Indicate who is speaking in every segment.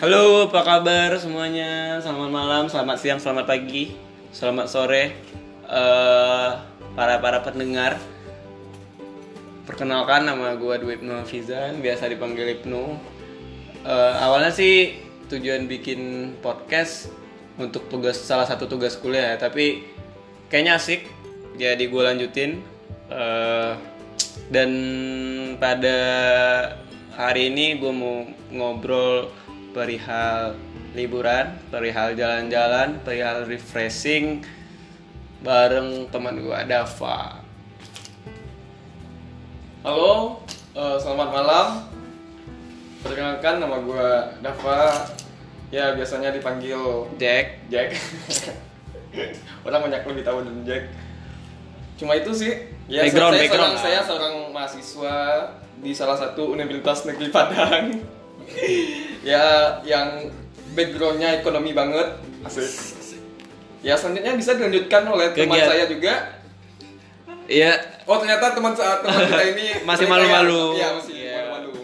Speaker 1: Halo, apa kabar semuanya? Selamat malam, selamat siang, selamat pagi, selamat sore, eh, para para pendengar. Perkenalkan nama gue Dwi Ibnu Hafizan, biasa dipanggil Ibnu. Eh, awalnya sih tujuan bikin podcast untuk tugas salah satu tugas kuliah, ya, tapi kayaknya asik, jadi gue lanjutin. Eh, dan pada hari ini gue mau ngobrol perihal liburan, perihal jalan-jalan, perihal refreshing bareng teman gue Dava. Halo, eh, selamat malam. Perkenalkan nama gue Dava. Ya biasanya dipanggil Jack. Jack. Orang banyak lebih tahu dari Jack. Cuma itu sih. Ya,
Speaker 2: Background,
Speaker 1: saya, saya
Speaker 2: background.
Speaker 1: Seorang, saya seorang mahasiswa di salah satu Universitas Negeri Padang. ya yang backgroundnya ekonomi banget. Asik. Ya selanjutnya bisa dilanjutkan oleh teman
Speaker 2: Kegiat-
Speaker 1: saya juga
Speaker 2: Iya,
Speaker 1: Oh ternyata teman saat teman kita ini
Speaker 2: Masih
Speaker 1: balik layar.
Speaker 2: malu-malu.
Speaker 1: Iya masih
Speaker 2: Iya.
Speaker 1: malu-malu.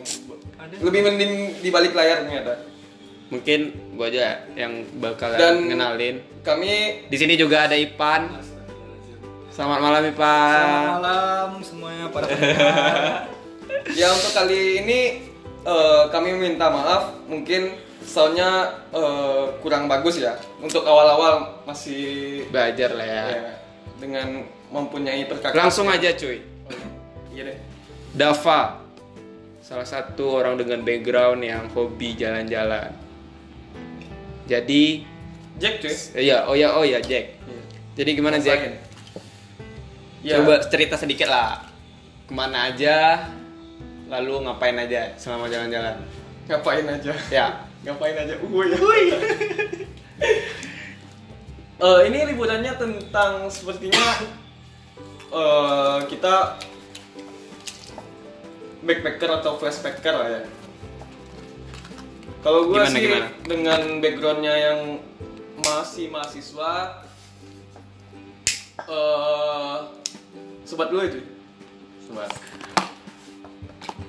Speaker 1: Lebih mending di balik layar ternyata.
Speaker 2: mungkin gua aja yang bakalan
Speaker 1: Dan-
Speaker 2: kenalin.
Speaker 1: Kami
Speaker 2: Di sini juga ada Ipan. Selamat malam
Speaker 3: Selamat
Speaker 2: Ipan.
Speaker 3: malam semuanya para pendengar.
Speaker 1: ya untuk kali ini eh, kami minta maaf mungkin soundnya eh, kurang bagus ya. Untuk awal-awal masih
Speaker 2: Belajar lah ya.
Speaker 1: ya, dengan mempunyai perkakas.
Speaker 2: Langsung aja cuy.
Speaker 1: Iya deh.
Speaker 2: Dava, salah satu orang dengan background yang hobi jalan-jalan. Jadi,
Speaker 1: Jack cuy.
Speaker 2: iya, oh ya, oh ya, Jack. Jadi gimana
Speaker 1: Rasain.
Speaker 2: Jack?
Speaker 1: Ya.
Speaker 2: Coba cerita sedikit lah. Kemana aja? Lalu ngapain aja selama jalan-jalan?
Speaker 1: ngapain aja?
Speaker 2: Ya,
Speaker 1: ngapain aja uhuy Eh, ini liburannya tentang sepertinya eh, kita backpacker atau flashpacker lah ya kalau gue
Speaker 2: Gimana,
Speaker 1: sih
Speaker 2: gimana?
Speaker 1: dengan backgroundnya yang masih mahasiswa eh sobat dulu itu sobat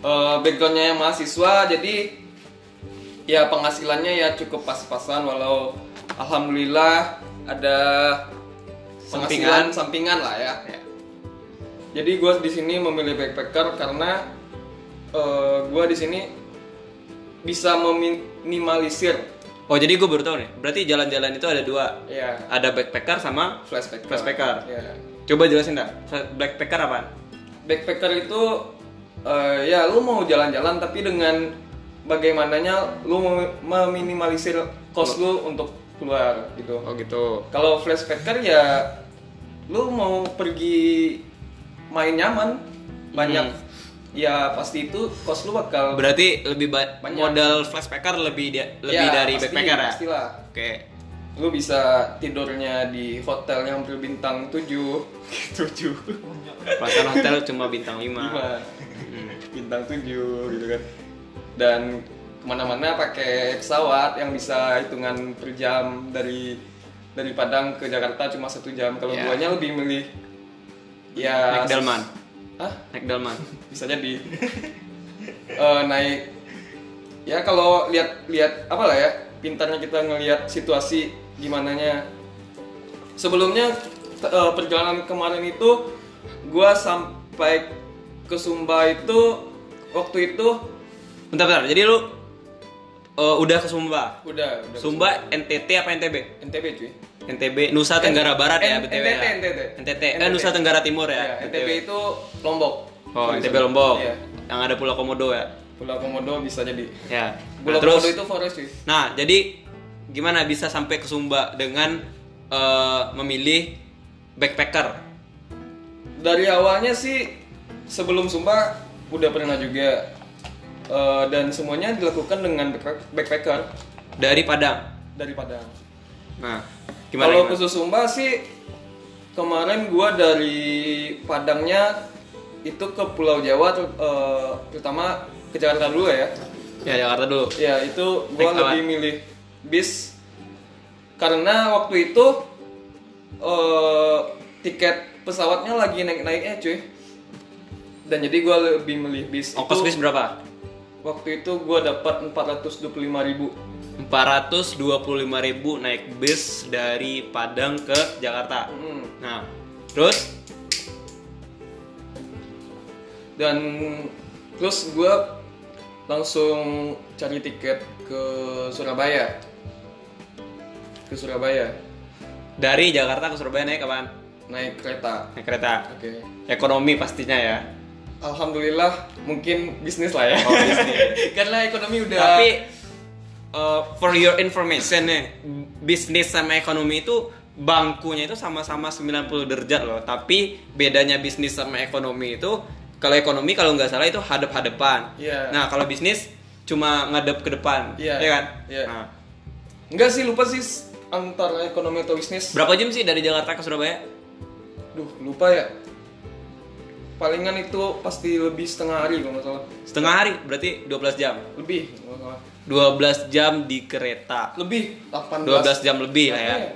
Speaker 1: Eh, backgroundnya yang mahasiswa jadi ya penghasilannya ya cukup pas-pasan walau alhamdulillah ada penghasilan
Speaker 2: Sampingan.
Speaker 1: sampingan lah ya. Jadi gue di sini memilih backpacker karena gue di sini bisa meminimalisir
Speaker 2: Oh jadi gue baru tahu nih. Berarti jalan-jalan itu ada dua.
Speaker 1: ya
Speaker 2: Ada backpacker sama
Speaker 1: flashback
Speaker 2: Flashbacker.
Speaker 1: Ya.
Speaker 2: coba jelasin dah. Fla- Backpacker apa?
Speaker 1: Backpacker itu eh, ya lu mau jalan-jalan tapi dengan bagaimananya lu mem- meminimalisir cost lu untuk keluar gitu.
Speaker 2: Oh gitu.
Speaker 1: Kalau flashbacker ya lu mau pergi main nyaman banyak ya pasti itu cost lu bakal
Speaker 2: Berarti lebih ba-
Speaker 1: Banyak.
Speaker 2: modal flashpacker lebih dia- lebih
Speaker 1: Ya,
Speaker 2: dari
Speaker 1: pasti,
Speaker 2: backpacker ya.
Speaker 1: Pastilah.
Speaker 2: Oke.
Speaker 1: Lu bisa tidurnya di hotel yang berbintang 7 7
Speaker 2: Perasaan hotel cuma bintang 5.
Speaker 1: lima Iya. bintang tujuh gitu kan dan kemana-mana pakai pesawat yang bisa hitungan per jam dari dari Padang ke Jakarta cuma satu jam kalau
Speaker 2: Ya.
Speaker 1: guanya lebih milih ya
Speaker 2: Naik Delman.
Speaker 1: Hah?
Speaker 2: Naik Delman.
Speaker 1: bisa jadi Eh, naik ya kalau lihat-lihat apa lah ya pintarnya kita ngelihat situasi gimana nya sebelumnya t- eh, perjalanan kemarin itu gua sampai ke Sumba itu waktu itu
Speaker 2: Bentar bentar. Jadi lu eh, udah ke Sumba.
Speaker 1: udah udah
Speaker 2: Sumba NTT apa NTB?
Speaker 1: NTB cuy
Speaker 2: NTB Nusa Tenggara Barat ya
Speaker 1: N-
Speaker 2: BTW.
Speaker 1: NTT,
Speaker 2: ya.
Speaker 1: NTT.
Speaker 2: NTT. Eh
Speaker 1: NTT.
Speaker 2: Nusa Tenggara Timur
Speaker 1: ya,
Speaker 2: ya.
Speaker 1: NTB
Speaker 2: BTW.
Speaker 1: itu Lombok
Speaker 2: Oh,
Speaker 1: Sorry,
Speaker 2: NTB
Speaker 1: sorry.
Speaker 2: Lombok.
Speaker 1: iya.
Speaker 2: Yang ada Pulau Komodo ya.
Speaker 1: Pulau Komodo bisa jadi
Speaker 2: Ya.
Speaker 1: Iya. Pulau
Speaker 2: Nah, terus
Speaker 1: Komodo itu forest cuy
Speaker 2: Nah, jadi gimana bisa sampai ke Sumba dengan eh, memilih backpacker?
Speaker 1: dari awalnya sih sebelum Sumba udah pernah juga Eh, dan semuanya dilakukan dengan backpack- backpacker
Speaker 2: dari Padang.
Speaker 1: dari Padang.
Speaker 2: Nah, gimana?
Speaker 1: Kalau
Speaker 2: gimana?
Speaker 1: khusus Sumba sih kemarin gua dari Padangnya itu ke Pulau Jawa ter- eh, terutama ke Jakarta dulu ya.
Speaker 2: Ya Jakarta dulu.
Speaker 1: Ya itu
Speaker 2: Naik
Speaker 1: gua
Speaker 2: pesawat.
Speaker 1: lebih milih bis karena waktu itu eh, tiket pesawatnya lagi naik-naiknya cuy. Dan jadi gua lebih milih Oh, bis.
Speaker 2: Ongkos
Speaker 1: Itu-
Speaker 2: bis berapa?
Speaker 1: Waktu itu gua dapat 425.000.
Speaker 2: 425.000 naik bis dari Padang ke Jakarta. Nah, terus
Speaker 1: dan terus gue langsung cari tiket ke Surabaya ke Surabaya
Speaker 2: dari Jakarta ke Surabaya naik kapan?
Speaker 1: naik kereta
Speaker 2: Naik kereta.
Speaker 1: oke
Speaker 2: Ekonomi pastinya ya.
Speaker 1: alhamdulillah mungkin bisnis lah ya karena ekonomi udah
Speaker 2: Oh, Tapi uh, for your information nih, bisnis sama ekonomi itu bangkunya itu sama-sama 90 derajat loh. Tapi bedanya bisnis sama ekonomi itu kalau ekonomi kalau nggak salah itu hadap-hadapan.
Speaker 1: Iya.
Speaker 2: Nah, kalau bisnis cuma ngadep ke depan,
Speaker 1: Iya.
Speaker 2: ya kan?
Speaker 1: Iya.
Speaker 2: Nah,
Speaker 1: enggak sih lupa sih antara ekonomi atau bisnis
Speaker 2: berapa jam sih dari Jakarta ke Surabaya?
Speaker 1: duh lupa ya palingan itu pasti lebih setengah hari kalau nggak salah
Speaker 2: Setengah hari, berarti 12 jam.
Speaker 1: lebih kalau nggak salah
Speaker 2: 12 jam di kereta.
Speaker 1: lebih 18
Speaker 2: 12 jam lebih lah ya.
Speaker 1: Iya.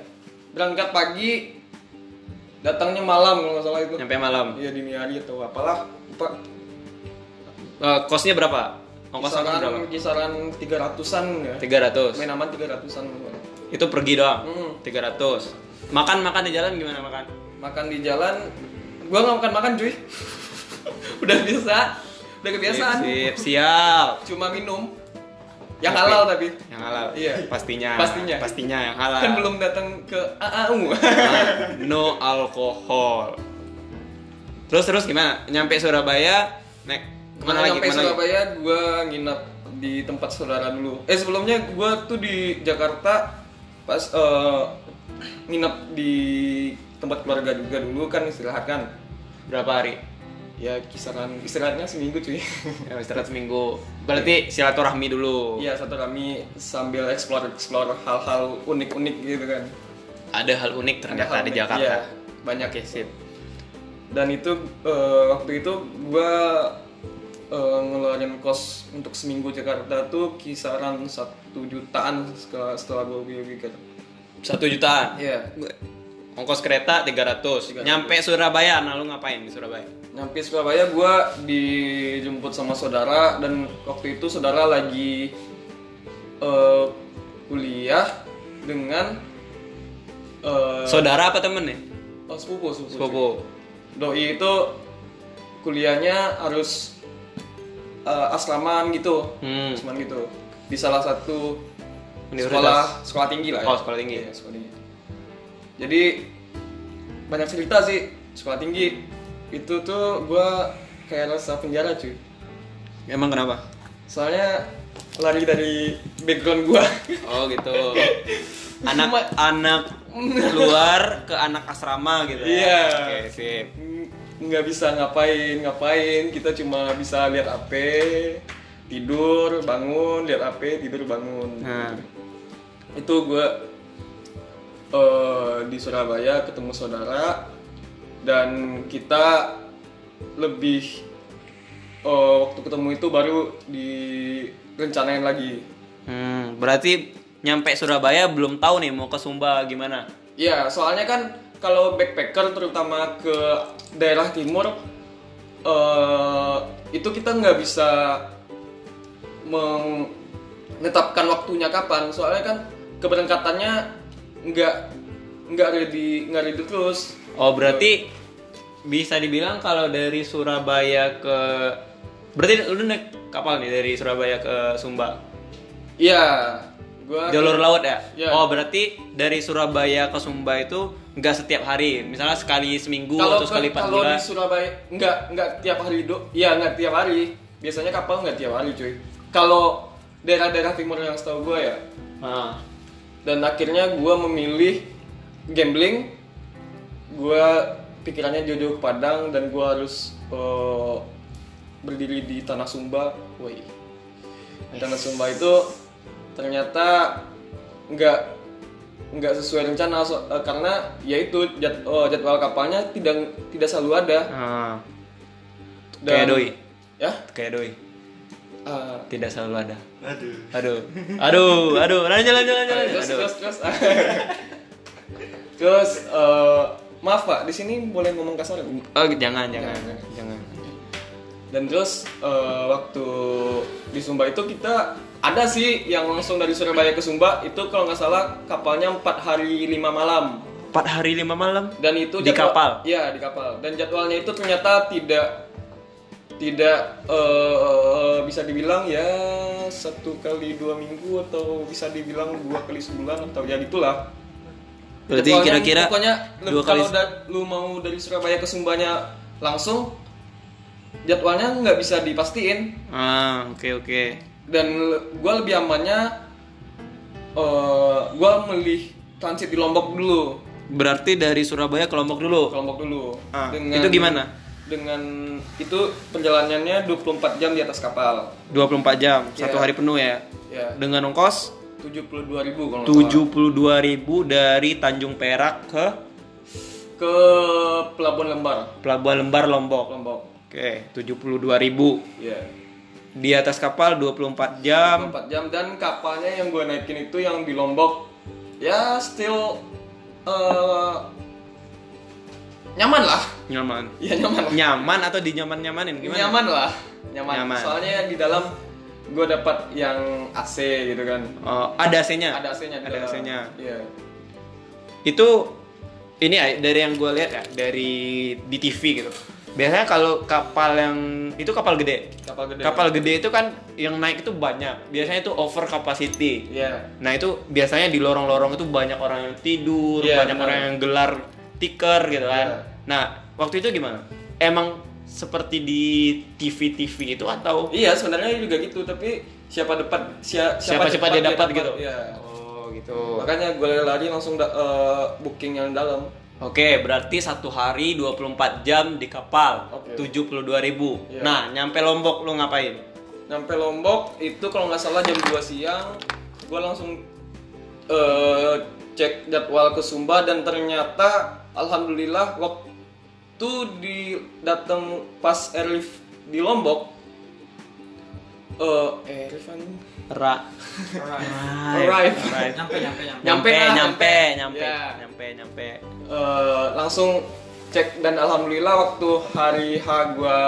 Speaker 1: berangkat pagi datangnya malam kalau nggak salah itu
Speaker 2: Sampai malam.
Speaker 1: iya dini hari atau apalah lupa
Speaker 2: Eh, kosnya berapa? Ongkos angkot berapa?
Speaker 1: kisaran kisaran 300-an ya
Speaker 2: 300.
Speaker 1: main aman 300-an
Speaker 2: Itu pergi doang.
Speaker 1: Hmm.
Speaker 2: 300. Makan makan di jalan gimana makan?
Speaker 1: makan di jalan gua nggak makan makan cuy udah biasa udah kebiasaan
Speaker 2: Sip, sip, siap.
Speaker 1: cuma minum yang
Speaker 2: Kopi.
Speaker 1: halal tapi
Speaker 2: Yang halal.
Speaker 1: Iya.
Speaker 2: Pastinya.
Speaker 1: Pastinya.
Speaker 2: Pastinya yang halal.
Speaker 1: kan belum datang ke AAU
Speaker 2: Nah, no alkohol. Terus terus gimana? Nyampe Surabaya naik kemana
Speaker 1: Nah,
Speaker 2: lagi?
Speaker 1: nyampe
Speaker 2: Kemana lagi?
Speaker 1: Surabaya gue nginep di tempat saudara dulu eh sebelumnya gue tuh di Jakarta pas eh, nginep di tempat keluarga juga dulu kan istirahat kan
Speaker 2: Berapa hari?
Speaker 1: ya kisaran istirahatnya seminggu cuy
Speaker 2: Ya, istirahat seminggu. Berarti silaturahmi dulu.
Speaker 1: Iya satu kami sambil explore explore hal-hal unik-unik gitu kan
Speaker 2: Ada hal unik ternyata
Speaker 1: Ada hal
Speaker 2: di
Speaker 1: unik,
Speaker 2: Jakarta.
Speaker 1: iya, banyak.
Speaker 2: Oke, sip.
Speaker 1: dan itu eh, waktu itu gue ngeluarin kos untuk seminggu Jakarta tuh kisaran satu jutaan setelah setelah gue pikir
Speaker 2: Satu jutaan.
Speaker 1: Iya,
Speaker 2: Ongkos kereta 300.
Speaker 1: 300.
Speaker 2: Nyampe Surabaya, nah lu ngapain di Surabaya?
Speaker 1: nyampe Surabaya gue dijemput sama saudara dan waktu itu saudara lagi eh, kuliah dengan eh,
Speaker 2: Saudara apa temen nih?
Speaker 1: oh, sepupu sepupu,
Speaker 2: Sepupu.
Speaker 1: doi itu kuliahnya harus eh, asraman gitu
Speaker 2: Hmm.
Speaker 1: asraman gitu di salah satu
Speaker 2: Universitas.
Speaker 1: sekolah sekolah tinggi lah ya.
Speaker 2: Oh, sekolah tinggi.
Speaker 1: Iya, sekolah tinggi. jadi banyak cerita sih sekolah tinggi itu tuh gua kayak rasa penjara cuy
Speaker 2: Emang kenapa?
Speaker 1: soalnya lari dari background gua
Speaker 2: Oh gitu. Anak anak luar ke anak asrama gitu. ya?
Speaker 1: Iya.
Speaker 2: Oke, sip.
Speaker 1: Hmm, nggak bisa ngapain ngapain kita cuma bisa lihat HP tidur bangun lihat HP tidur bangun
Speaker 2: Nah,
Speaker 1: itu gue eh, di Surabaya ketemu saudara dan kita lebih eh, waktu ketemu itu baru direncanain lagi
Speaker 2: hmm, berarti nyampe Surabaya belum tahu nih mau ke Sumba gimana.
Speaker 1: ya soalnya kan kalau backpacker terutama ke daerah timur eh, itu kita nggak bisa menetapkan waktunya kapan soalnya kan keberangkatannya nggak nggak ready nggak ready terus
Speaker 2: Oh, berarti bisa dibilang kalau dari Surabaya ke berarti lu naik kapal nih dari Surabaya ke Sumba.
Speaker 1: Iya, gua
Speaker 2: Jalur laut ya?
Speaker 1: Iya.
Speaker 2: Oh, berarti dari Surabaya ke Sumba itu nggak setiap hari. Misalnya sekali seminggu
Speaker 1: kalau
Speaker 2: atau sekali
Speaker 1: ke-
Speaker 2: empat
Speaker 1: kalau
Speaker 2: bulan.
Speaker 1: di Surabaya nggak nggak tiap hari do, iya nggak tiap hari. Biasanya kapal nggak tiap hari cuy. Kalau daerah-daerah timur yang setahu gua ya,
Speaker 2: Ah.
Speaker 1: dan akhirnya gua memilih gambling. Gua pikirannya jodoh ke Padang dan gua harus eh, berdiri di tanah Sumba. Woi, tanah Sumba itu ternyata nggak nggak sesuai rencana so- eh, karena yaitu jad- oh, jadwal kapalnya tidak tidak selalu ada
Speaker 2: Ah.
Speaker 1: Dan-
Speaker 2: Kayak doi.
Speaker 1: ya
Speaker 2: Kayak doi.
Speaker 1: eh,
Speaker 2: Tidak selalu ada.
Speaker 3: Aduh.
Speaker 2: Aduh. Aduh, aduh. Lanjut, lanjut, lanjut. lanjut.
Speaker 1: terus
Speaker 2: Aduh.
Speaker 1: terus terus terus eh, maaf pak di sini boleh ngomong kasar nggak?
Speaker 2: Oh, jangan, jangan. Jangan.
Speaker 1: Dan terus eh, waktu di Sumba itu kita ada sih yang langsung dari Surabaya ke Sumba itu kalau nggak salah kapalnya 4 hari 5 malam.
Speaker 2: 4 hari 5 malam.
Speaker 1: Dan itu
Speaker 2: Di kapal?
Speaker 1: Iya, di kapal. Dan jadwalnya itu ternyata tidak tidak eh, bisa dibilang ya satu kali dua minggu atau bisa dibilang dua kali sebulan atau ya gitulah.
Speaker 2: Berarti
Speaker 1: Jadwalnya
Speaker 2: kira-kira
Speaker 1: pokoknya lu-
Speaker 2: dua kali
Speaker 1: kalau da- lu mau dari Surabaya ke Sumbanya langsung jadwalnya nggak bisa dipastiin
Speaker 2: Ah, oke oke.
Speaker 1: dan l- gua lebih amannya eh gua milih transit di Lombok dulu
Speaker 2: Berarti dari Surabaya ke Lombok dulu.
Speaker 1: ke Lombok dulu
Speaker 2: Ah, itu gimana?
Speaker 1: dengan itu perjalanannya 24 jam di atas kapal
Speaker 2: 24 jam,
Speaker 1: Iya.
Speaker 2: satu hari penuh ya.
Speaker 1: ya
Speaker 2: Dengan ongkos
Speaker 1: 72.000 kalau nggak salah.
Speaker 2: 72.000 dari Tanjung Perak ke
Speaker 1: ke Pelabuhan Lembar
Speaker 2: Pelabuhan Lembar Lombok.
Speaker 1: Lombok
Speaker 2: Oke, 72.000.
Speaker 1: ya
Speaker 2: Di atas kapal 24 jam.
Speaker 1: 4 jam dan kapalnya yang gue naikin itu yang di Lombok ya still eh, nyaman lah
Speaker 2: Nyaman.
Speaker 1: ya nyaman lah.
Speaker 2: Nyaman atau dinyaman-nyamanin gimana?
Speaker 1: nyaman lah nyaman.
Speaker 2: Nyaman.
Speaker 1: soalnya di dalam gue dapat yang AC gitu kan
Speaker 2: Oh, ada AC-nya.
Speaker 1: ada AC-nya di
Speaker 2: Ada
Speaker 1: dalam.
Speaker 2: AC-nya.
Speaker 1: Iya.
Speaker 2: itu ini ya dari yang gue lihat ya dari di TV gitu biasanya kalau kapal yang itu kapal gede
Speaker 1: kapal gede
Speaker 2: kapal gede itu kan yang naik itu banyak biasanya itu over capacity
Speaker 1: Iya.
Speaker 2: nah itu biasanya di lorong-lorong itu banyak orang yang tidur
Speaker 1: Iya,
Speaker 2: banyak
Speaker 1: benar.
Speaker 2: orang yang gelar tiker gitu kan
Speaker 1: Iya.
Speaker 2: nah waktu itu gimana emang seperti di TV-TV itu atau
Speaker 1: iya sebenarnya juga gitu tapi siapa dapat sia-
Speaker 2: siapa siapa dia dapat gitu
Speaker 1: Iya.
Speaker 2: oh gitu
Speaker 1: makanya gue lari langsung da- eh, booking yang dalam
Speaker 2: Oke, berarti satu hari 24 jam di kapal,
Speaker 1: Oke.
Speaker 2: 72.000.
Speaker 1: Iya.
Speaker 2: Nah, nyampe Lombok lu ngapain?
Speaker 1: Sampai Lombok itu kalau nggak salah jam 2 siang, gue langsung eh, cek jadwal ke Sumba dan ternyata alhamdulillah waktu di datang pas airlift di Lombok eh airlift anjing.
Speaker 2: Ra.
Speaker 1: Arrive.
Speaker 3: Nyampe nyampe nyampe.
Speaker 2: Nyampe,
Speaker 1: Nyampe lah,
Speaker 2: nyampe,
Speaker 1: nyampe.
Speaker 2: nyampe,
Speaker 1: Iya.
Speaker 2: nyampe, nyampe.
Speaker 1: Eh, langsung cek dan alhamdulillah waktu hari H gue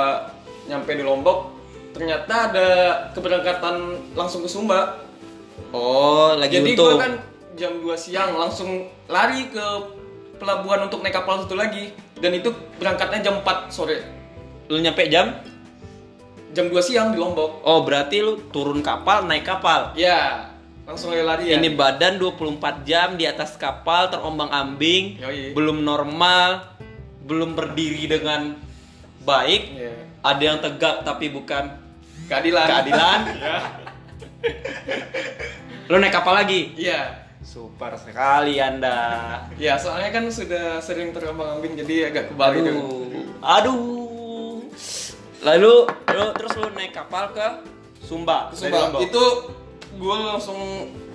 Speaker 1: nyampe di Lombok ternyata ada keberangkatan langsung ke Sumba
Speaker 2: Oh, lagi
Speaker 1: Jadi
Speaker 2: untung.
Speaker 1: gue kan jam 2 siang langsung lari ke pelabuhan untuk naik kapal satu lagi dan itu berangkatnya jam 4 sore.
Speaker 2: Lu nyampe jam?
Speaker 1: Jam 2 siang di Lombok.
Speaker 2: Oh, berarti lu turun kapal, naik kapal.
Speaker 1: Ya, langsung lari-lari ya.
Speaker 2: Ini badan 24 jam di atas kapal terombang-ambing,
Speaker 1: Yoi.
Speaker 2: belum normal, belum berdiri dengan baik.
Speaker 1: Iya.
Speaker 2: Ada yang tegak tapi bukan
Speaker 1: keadilan.
Speaker 2: keadilan. Lu naik kapal lagi?
Speaker 1: Iya.
Speaker 2: Super sekali Anda.
Speaker 1: Ya, soalnya kan sudah sering terombang-ambing jadi agak kebalik.
Speaker 2: Aduh.
Speaker 1: kan.
Speaker 2: Aduh. Lalu lu terus lu naik kapal ke Sumba.
Speaker 1: Ke
Speaker 2: dari
Speaker 1: Sumba.
Speaker 2: Lombok.
Speaker 1: Itu gue langsung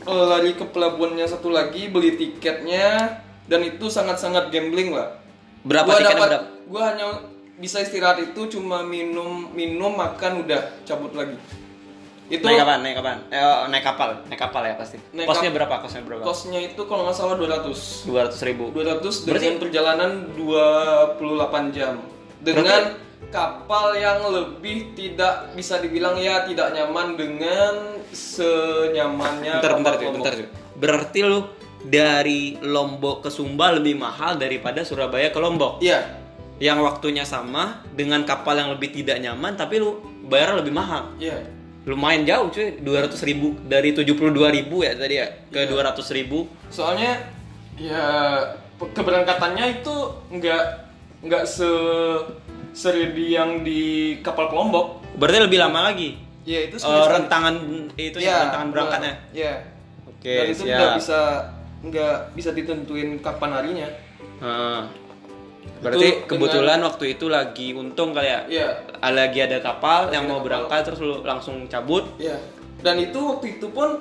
Speaker 1: eh, lari ke pelabuhannya satu lagi beli tiketnya dan itu sangat-sangat gambling lah.
Speaker 2: berapa
Speaker 1: gua
Speaker 2: tiketnya
Speaker 1: dapat-
Speaker 2: berapa?
Speaker 1: gua hanya bisa istirahat itu cuma minum minum makan udah cabut lagi. Itu
Speaker 2: Naik kapan? Naik kapan? Eh, oh, naik kapal, naik kapal ya pasti.
Speaker 1: Naik
Speaker 2: kosnya
Speaker 1: kap-
Speaker 2: berapa? Kosnya berapa?
Speaker 1: kosnya itu kalau nggak salah 200.
Speaker 2: 200 ribu.
Speaker 1: 200
Speaker 2: Berarti-
Speaker 1: dengan perjalanan 28 jam. Dengan kapal yang lebih tidak bisa dibilang ya tidak nyaman dengan senyamannya
Speaker 2: Bentar, bentar,
Speaker 1: kapal
Speaker 2: cuy,
Speaker 1: Lombok.
Speaker 2: bentar, cuy. Berarti lu dari Lombok ke Sumba lebih mahal daripada Surabaya ke Lombok.
Speaker 1: Iya.
Speaker 2: yang waktunya sama dengan kapal yang lebih tidak nyaman tapi lu bayar lebih mahal
Speaker 1: Iya.
Speaker 2: lumayan jauh cuy 200.000 ribu dari 72.000 ribu ya tadi ya ke
Speaker 1: Iya.
Speaker 2: 200.000 ribu
Speaker 1: soalnya ya pe- keberangkatannya itu nggak nggak se seridi yang di kapal kelompok
Speaker 2: berarti lebih lama lagi
Speaker 1: ya itu
Speaker 2: Eh,
Speaker 1: sebenarnya-
Speaker 2: rentangan itu ya, rentangan berangkatnya
Speaker 1: ya
Speaker 2: oke
Speaker 1: iya, dan itu nggak
Speaker 2: siap
Speaker 1: bisa nggak bisa ditentuin kapan harinya
Speaker 2: Heeh. berarti
Speaker 1: Itu
Speaker 2: kebetulan waktu itu lagi untung kali ya
Speaker 1: ya
Speaker 2: lagi ada kapal yang
Speaker 1: ada
Speaker 2: mau
Speaker 1: Iya, kapal.
Speaker 2: berangkat terus lu langsung cabut
Speaker 1: ya dan itu waktu itu pun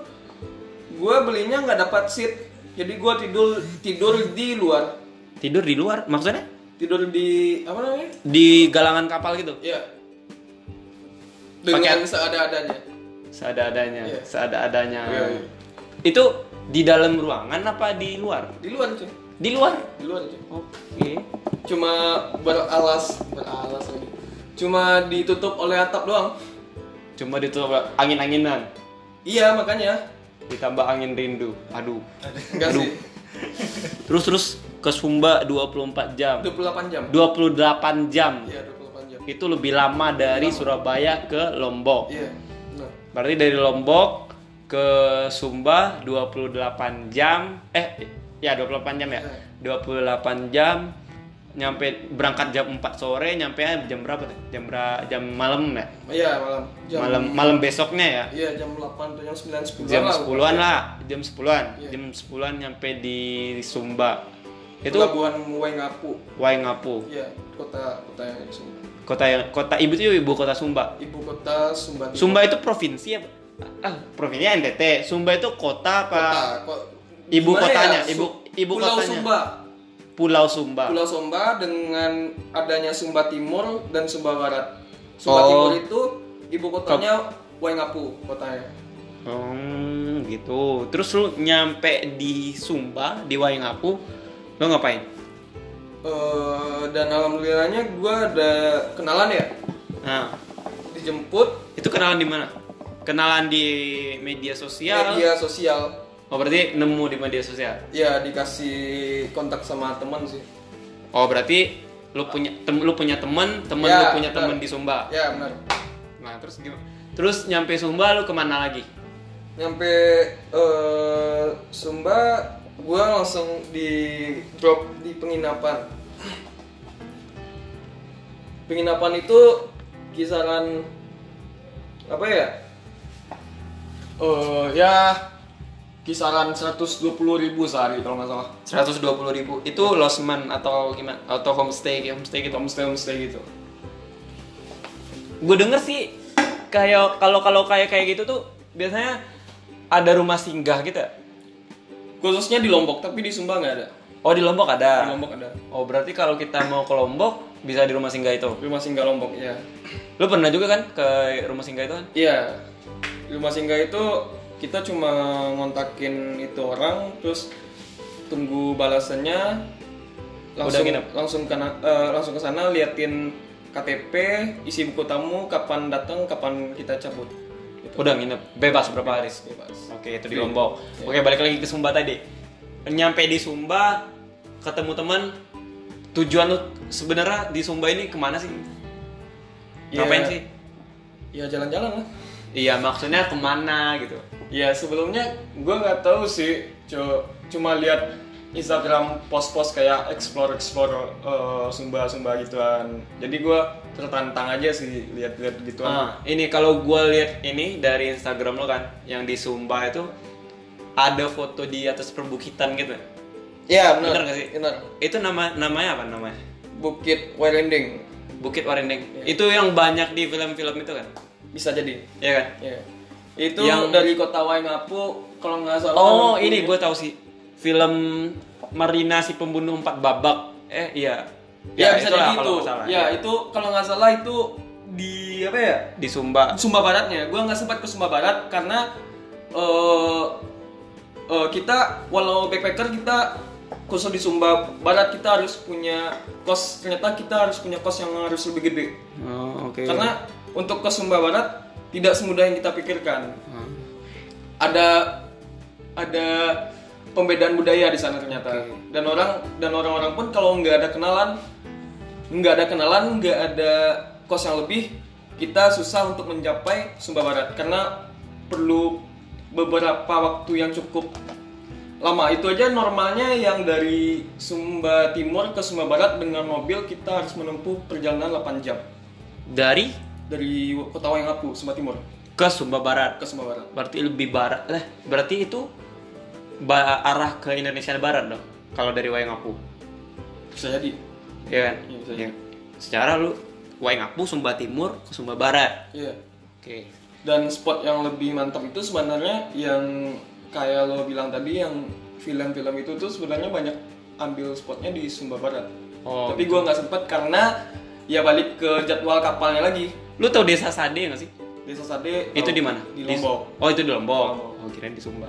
Speaker 1: gue belinya nggak dapat seat jadi gue tidur tidur di luar
Speaker 2: tidur di luar maksudnya
Speaker 1: tidur di apa namanya
Speaker 2: di galangan kapal gitu
Speaker 1: ya
Speaker 2: Pakai-
Speaker 1: dengan seada-adanya
Speaker 2: seada-adanya
Speaker 1: Iya.
Speaker 2: seada-adanya
Speaker 1: Iya, iya.
Speaker 2: itu di dalam ruangan apa di luar
Speaker 1: di luar cuy
Speaker 2: di luar
Speaker 1: di luar cuy.
Speaker 2: oke
Speaker 1: cuma beralas beralas lagi cuma ditutup oleh atap doang.
Speaker 2: Cuma ditutup angin-anginan.
Speaker 1: Iya makanya.
Speaker 2: Ditambah angin rindu. Aduh.
Speaker 1: Enggak sih.
Speaker 2: Terus terus ke Sumba 24 jam.
Speaker 1: 28 jam.
Speaker 2: 28 jam.
Speaker 1: Iya 28 jam.
Speaker 2: Itu lebih lama dari Surabaya ke Lombok.
Speaker 1: Iya. Benar.
Speaker 2: Berarti dari Lombok ke Sumba 28 jam. Eh ya 28 jam ya. 28 jam nyampe berangkat jam 4 sore nyampe jam berapa tuh? Jam bera- jam malam ya?
Speaker 1: Iya malam. Jam,
Speaker 2: Malam malam besoknya ya.
Speaker 1: Iya jam 8 atau jam 9 10
Speaker 2: jam 10-an lah, jam 10-an.
Speaker 1: Iya.
Speaker 2: Jam 10-an nyampe di Sumba. Itu
Speaker 1: Itu pelabuhan Waingapu.
Speaker 2: Waingapu.
Speaker 1: Iya, kota kota yang Sumba.
Speaker 2: Kota yang kota ibu itu ibu kota Sumba.
Speaker 1: Ibu kota Sumba. Timur.
Speaker 2: Sumba itu provinsi apa? Ah, provinsinya NTT. Sumba itu kota apa?
Speaker 1: Kota, ko-
Speaker 2: Ibu
Speaker 1: Nah, gimana
Speaker 2: kotanya,
Speaker 1: Su-
Speaker 2: ibu- ibu
Speaker 1: Pulau
Speaker 2: kotanya.
Speaker 1: Sumba.
Speaker 2: Pulau Sumba.
Speaker 1: Pulau Sumba dengan adanya Sumba Timur dan Sumba Barat.
Speaker 2: Oh.
Speaker 1: Sumba Timur itu ibu kotanya Waingapu kotanya.
Speaker 2: Hmm, gitu. Terus lu nyampe di Sumba, di Waingapu, lu ngapain?
Speaker 1: Eh, dan alhamdulillahnya gue ada kenalan ya
Speaker 2: Nah,
Speaker 1: dijemput
Speaker 2: itu kenalan di mana? Kenalan di media sosial.
Speaker 1: media sosial
Speaker 2: Oh, berarti nemu di media sosial.
Speaker 1: ya dikasih kontak sama teman sih
Speaker 2: Oh, berarti lu punya tem, lu punya temen, temen
Speaker 1: Ya,
Speaker 2: lu punya
Speaker 1: benar.
Speaker 2: temen di Sumba.
Speaker 1: ya benar
Speaker 2: Nah, terus gimana? Terus nyampe Sumba lu kemana lagi?
Speaker 1: nyampe eh, Sumba gua langsung di drop di penginapan penginapan itu kisaran apa ya Eh ya kisaran 120.000 sehari kalau nggak salah
Speaker 2: 120 ribu itu losman atau gimana atau homestay homestay gitu
Speaker 1: homestay homestay gitu
Speaker 2: gue denger sih kayak kalau kalau kayak kayak gitu tuh biasanya ada rumah singgah gitu ya?
Speaker 1: khususnya di Lombok tapi di Sumba nggak ada
Speaker 2: oh di lombok
Speaker 1: di
Speaker 2: ada
Speaker 1: Lombok ada
Speaker 2: oh berarti kalau kita mau ke lombok bisa di rumah singgah itu
Speaker 1: rumah singgah Lombok ya
Speaker 2: lu pernah juga kan ke rumah singgah itu kan
Speaker 1: Iya, rumah singgah itu kita cuma ngontakin itu orang, terus tunggu balasannya, langsung
Speaker 2: nginep?
Speaker 1: langsung ke eh, langsung ke sana liatin KTP, isi buku tamu, kapan datang, kapan kita cabut, gitu.
Speaker 2: udah nginep bebas berapa hari
Speaker 1: bebas.
Speaker 2: oke itu di lombok oke balik lagi ke sumba tadi nyampe di sumba ketemu teman tujuan lu sebenarnya di sumba ini kemana sih
Speaker 1: Iya.
Speaker 2: ngapain sih
Speaker 1: Ya jalan-jalan lah.
Speaker 2: iya maksudnya kemana gitu
Speaker 1: Ya sebelumnya gua nggak tahu sih, cu- cuma lihat Instagram post-post kayak explore explore eh, Sumba Sumba gituan. Jadi gua tertantang aja sih lihat-lihat gituan.
Speaker 2: Ah, ini kalau gue lihat ini dari Instagram lo kan, yang di Sumba itu ada foto di atas perbukitan gitu.
Speaker 1: Iya
Speaker 2: Bener
Speaker 1: benar.
Speaker 2: nggak sih?
Speaker 1: Benar.
Speaker 2: Itu nama namanya apa namanya?
Speaker 1: Bukit Wairinding
Speaker 2: Bukit Warendeng. Itu yang banyak di film-film itu kan?
Speaker 1: bisa jadi.
Speaker 2: Iya kan?
Speaker 1: Iya. Itu
Speaker 2: Yang-
Speaker 1: dari kota Waingapu kalau nggak salah.
Speaker 2: Oh, ini gue tahu sih. Film Marina si pembunuh empat babak. Eh iya.
Speaker 1: Ya, bisa
Speaker 2: itulah
Speaker 1: jadi
Speaker 2: kalau
Speaker 1: itu.
Speaker 2: nggak salah. iya.
Speaker 1: ya itu kalau nggak salah itu di apa ya?
Speaker 2: Di Sumba.
Speaker 1: Sumba Baratnya. Gua nggak sempat ke Sumba Barat karena eh eh, kita walau backpacker kita khusus di Sumba Barat kita harus punya kos ternyata kita harus punya kos yang harus lebih gede.
Speaker 2: Oh, oke.
Speaker 1: Karena untuk ke Sumba Barat tidak semudah yang kita pikirkan. Ada ada pembedaan budaya di sana ternyata. Dan orang dan orang-orang pun kalau nggak ada kenalan, nggak ada kenalan, nggak ada kos yang lebih, kita susah untuk mencapai Sumba Barat karena perlu beberapa waktu yang cukup lama itu aja normalnya yang dari Sumba Timur ke Sumba Barat dengan mobil kita harus menempuh perjalanan 8 jam
Speaker 2: Dari
Speaker 1: dari kota Waingapu, Sumba Timur
Speaker 2: ke Sumba Barat.
Speaker 1: ke Sumba Barat.
Speaker 2: Berarti lebih barat lah. Berarti itu ba- arah ke Indonesia Barat dong. Kalau dari Waingapu.
Speaker 1: Bisa jadi.
Speaker 2: Iya kan?
Speaker 1: Iya, bisa
Speaker 2: Iya. Secara lu Waingapu Sumba Timur ke Sumba Barat.
Speaker 1: Iya.
Speaker 2: Oke.
Speaker 1: Dan spot yang lebih mantap itu sebenarnya yang kayak lo bilang tadi yang film-film itu tuh sebenarnya banyak ambil spotnya di Sumba Barat.
Speaker 2: Oh,
Speaker 1: Tapi gua nggak sempet karena ya balik ke jadwal kapalnya lagi.
Speaker 2: Lu tau Desa Sade nggak sih?
Speaker 1: Desa Sade.
Speaker 2: itu di mana?
Speaker 1: Di Lombok.
Speaker 2: oh, itu di Lombok.
Speaker 1: Lombok.
Speaker 2: Oh, kirain di Sumba.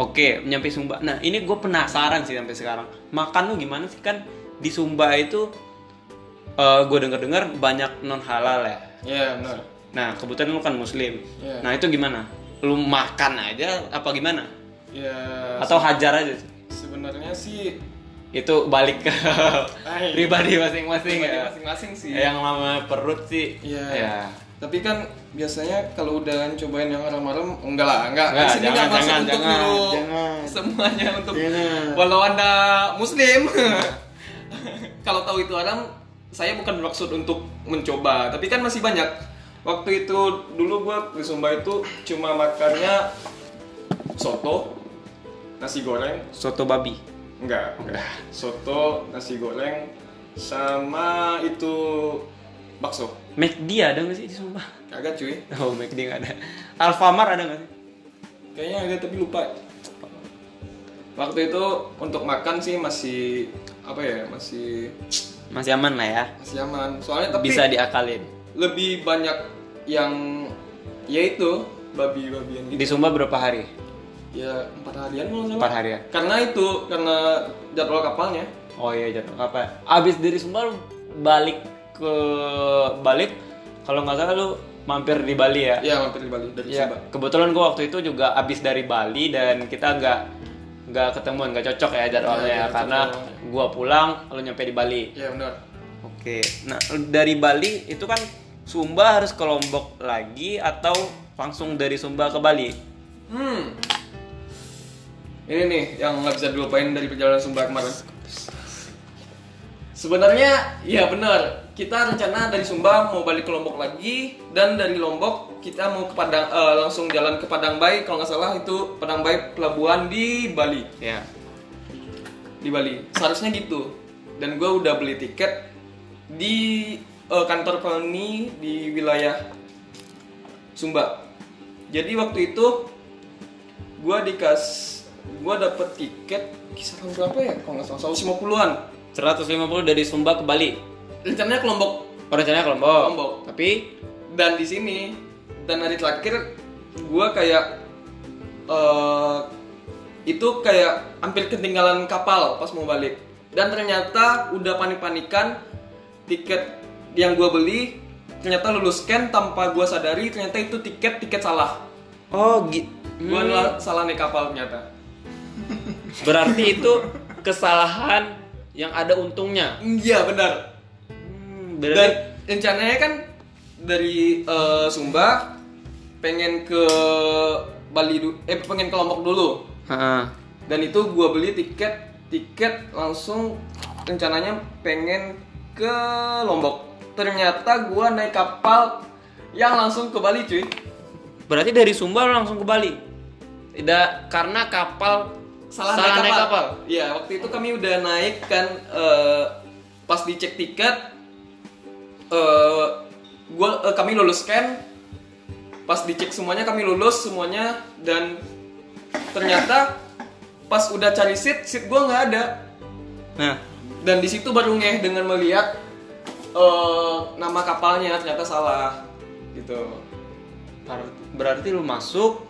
Speaker 2: Oke, nyampe Sumba. Nah, ini gue penasaran sih sampai sekarang. Makan lu gimana sih kan di Sumba itu gue dengar-dengar banyak non halal ya.
Speaker 1: Iya benar.
Speaker 2: Nah, kebetulan lu kan muslim.
Speaker 1: Iya.
Speaker 2: Nah, itu gimana? Lu makan aja apa gimana?
Speaker 1: Ya
Speaker 2: Atau hajar aja?
Speaker 1: sebenarnya sih
Speaker 2: Itu balik ke
Speaker 1: Ay.
Speaker 2: pribadi masing-masing
Speaker 1: pribadi
Speaker 2: ya.
Speaker 1: masing-masing sih.
Speaker 2: Yang lama perut sih.
Speaker 1: Iya.
Speaker 2: Ya.
Speaker 1: Tapi kan biasanya kalau udah cobain yang haram-haram enggak lah, enggak.
Speaker 2: Enggak,
Speaker 1: Di sini enggak
Speaker 2: jangan,
Speaker 1: masuk
Speaker 2: jangan,
Speaker 1: untuk
Speaker 2: jangan,
Speaker 1: lu
Speaker 2: jangan. Iya.
Speaker 1: semuanya untuk
Speaker 2: Jangan.
Speaker 1: walau Anda muslim. kalau tahu itu haram, saya bukan bermaksud untuk mencoba, tapi kan masih banyak. Waktu itu dulu gua di Sumba itu cuma makannya soto, nasi goreng,
Speaker 2: Soto babi.
Speaker 1: Enggak, enggak. Soto, nasi goreng, sama itu bakso.
Speaker 2: McD ada nggak sih di Sumba?
Speaker 1: Kagak cuy.
Speaker 2: Oh, McD nggak ada. Alfamart ada nggak sih?
Speaker 1: Kayaknya ada tapi lupa. Waktu itu untuk makan sih masih apa ya? Masih
Speaker 2: Masih aman lah ya.
Speaker 1: masih aman. Soalnya tapi
Speaker 2: Bisa diakalin.
Speaker 1: lebih banyak yang ya yaitu babi-babian gitu.
Speaker 2: Di Sumba berapa hari?
Speaker 1: Ya empat harian kalau nggak salah.
Speaker 2: Empat harian.
Speaker 1: Karena itu karena jadwal kapalnya.
Speaker 2: Oh iya jatuh apa? Abis dari Sumba lu balik ke balik kalau nggak salah lu mampir di Bali ya?
Speaker 1: Ya hampir di Bali dari
Speaker 2: Iya.
Speaker 1: Sumba.
Speaker 2: Kebetulan gua waktu itu juga abis dari Bali dan kita nggak nggak ketemuan nggak cocok ya jadwalnya
Speaker 1: Iya,
Speaker 2: ya,
Speaker 1: nggak
Speaker 2: karena gua pulang lu nyampe di Bali.
Speaker 1: Ya benar.
Speaker 2: Oke. Nah dari Bali itu kan Sumba harus ke Lombok lagi atau langsung dari Sumba ke Bali?
Speaker 1: Hmm. Ini nih yang nggak bisa dilupain dari perjalanan Sumba kemarin. Sebenarnya ya benar. Kita rencana dari Sumba mau balik ke Lombok lagi dan dari Lombok kita mau ke Padang eh, langsung jalan ke Padang Bay kalau nggak salah itu Padang Bay pelabuhan di Bali.
Speaker 2: Ya.
Speaker 1: Di Bali. Seharusnya gitu. Dan gue udah beli tiket di eh, kantor Pelni di wilayah Sumba. Jadi waktu itu gua dikas gua dapet tiket kisaran berapa ya? Kalau nggak salah 150-an.
Speaker 2: 150 dari Sumba ke Bali.
Speaker 1: Rencananya ke Lombok
Speaker 2: Oh, rencananya ke Lombok.
Speaker 1: Lombok.
Speaker 2: Tapi
Speaker 1: dan di sini dan hari terakhir gua kayak eh itu kayak hampir ketinggalan kapal pas mau balik dan ternyata udah panik-panikan tiket yang gua beli ternyata lulus scan tanpa gua sadari ternyata itu tiket tiket salah
Speaker 2: oh gitu.
Speaker 1: gua adalah salah naik kapal ternyata
Speaker 2: Berarti itu kesalahan yang ada untungnya.
Speaker 1: iya benar
Speaker 2: Hmm,
Speaker 1: Dan
Speaker 2: berarti
Speaker 1: rencananya kan dari eh, Sumba pengen ke Bali dulu, eh pengen ke Lombok dulu.
Speaker 2: Ha-ha.
Speaker 1: Dan itu gua beli tiket, tiket langsung rencananya pengen ke Lombok. Ternyata gua naik kapal yang langsung ke Bali cuy.
Speaker 2: berarti dari Sumba lo langsung ke Bali. Tidak karena kapal
Speaker 1: Salah, naik, kapal. Iya, waktu itu kami udah naik kan eh, pas dicek tiket eh gua eh, kami lulus scan. Pas dicek semuanya kami lulus semuanya dan ternyata pas udah cari seat, seat gua nggak ada.
Speaker 2: Nah,
Speaker 1: Dan di situ baru ngeh dengan melihat eh, nama kapalnya ternyata salah gitu.
Speaker 2: bar- berarti lu masuk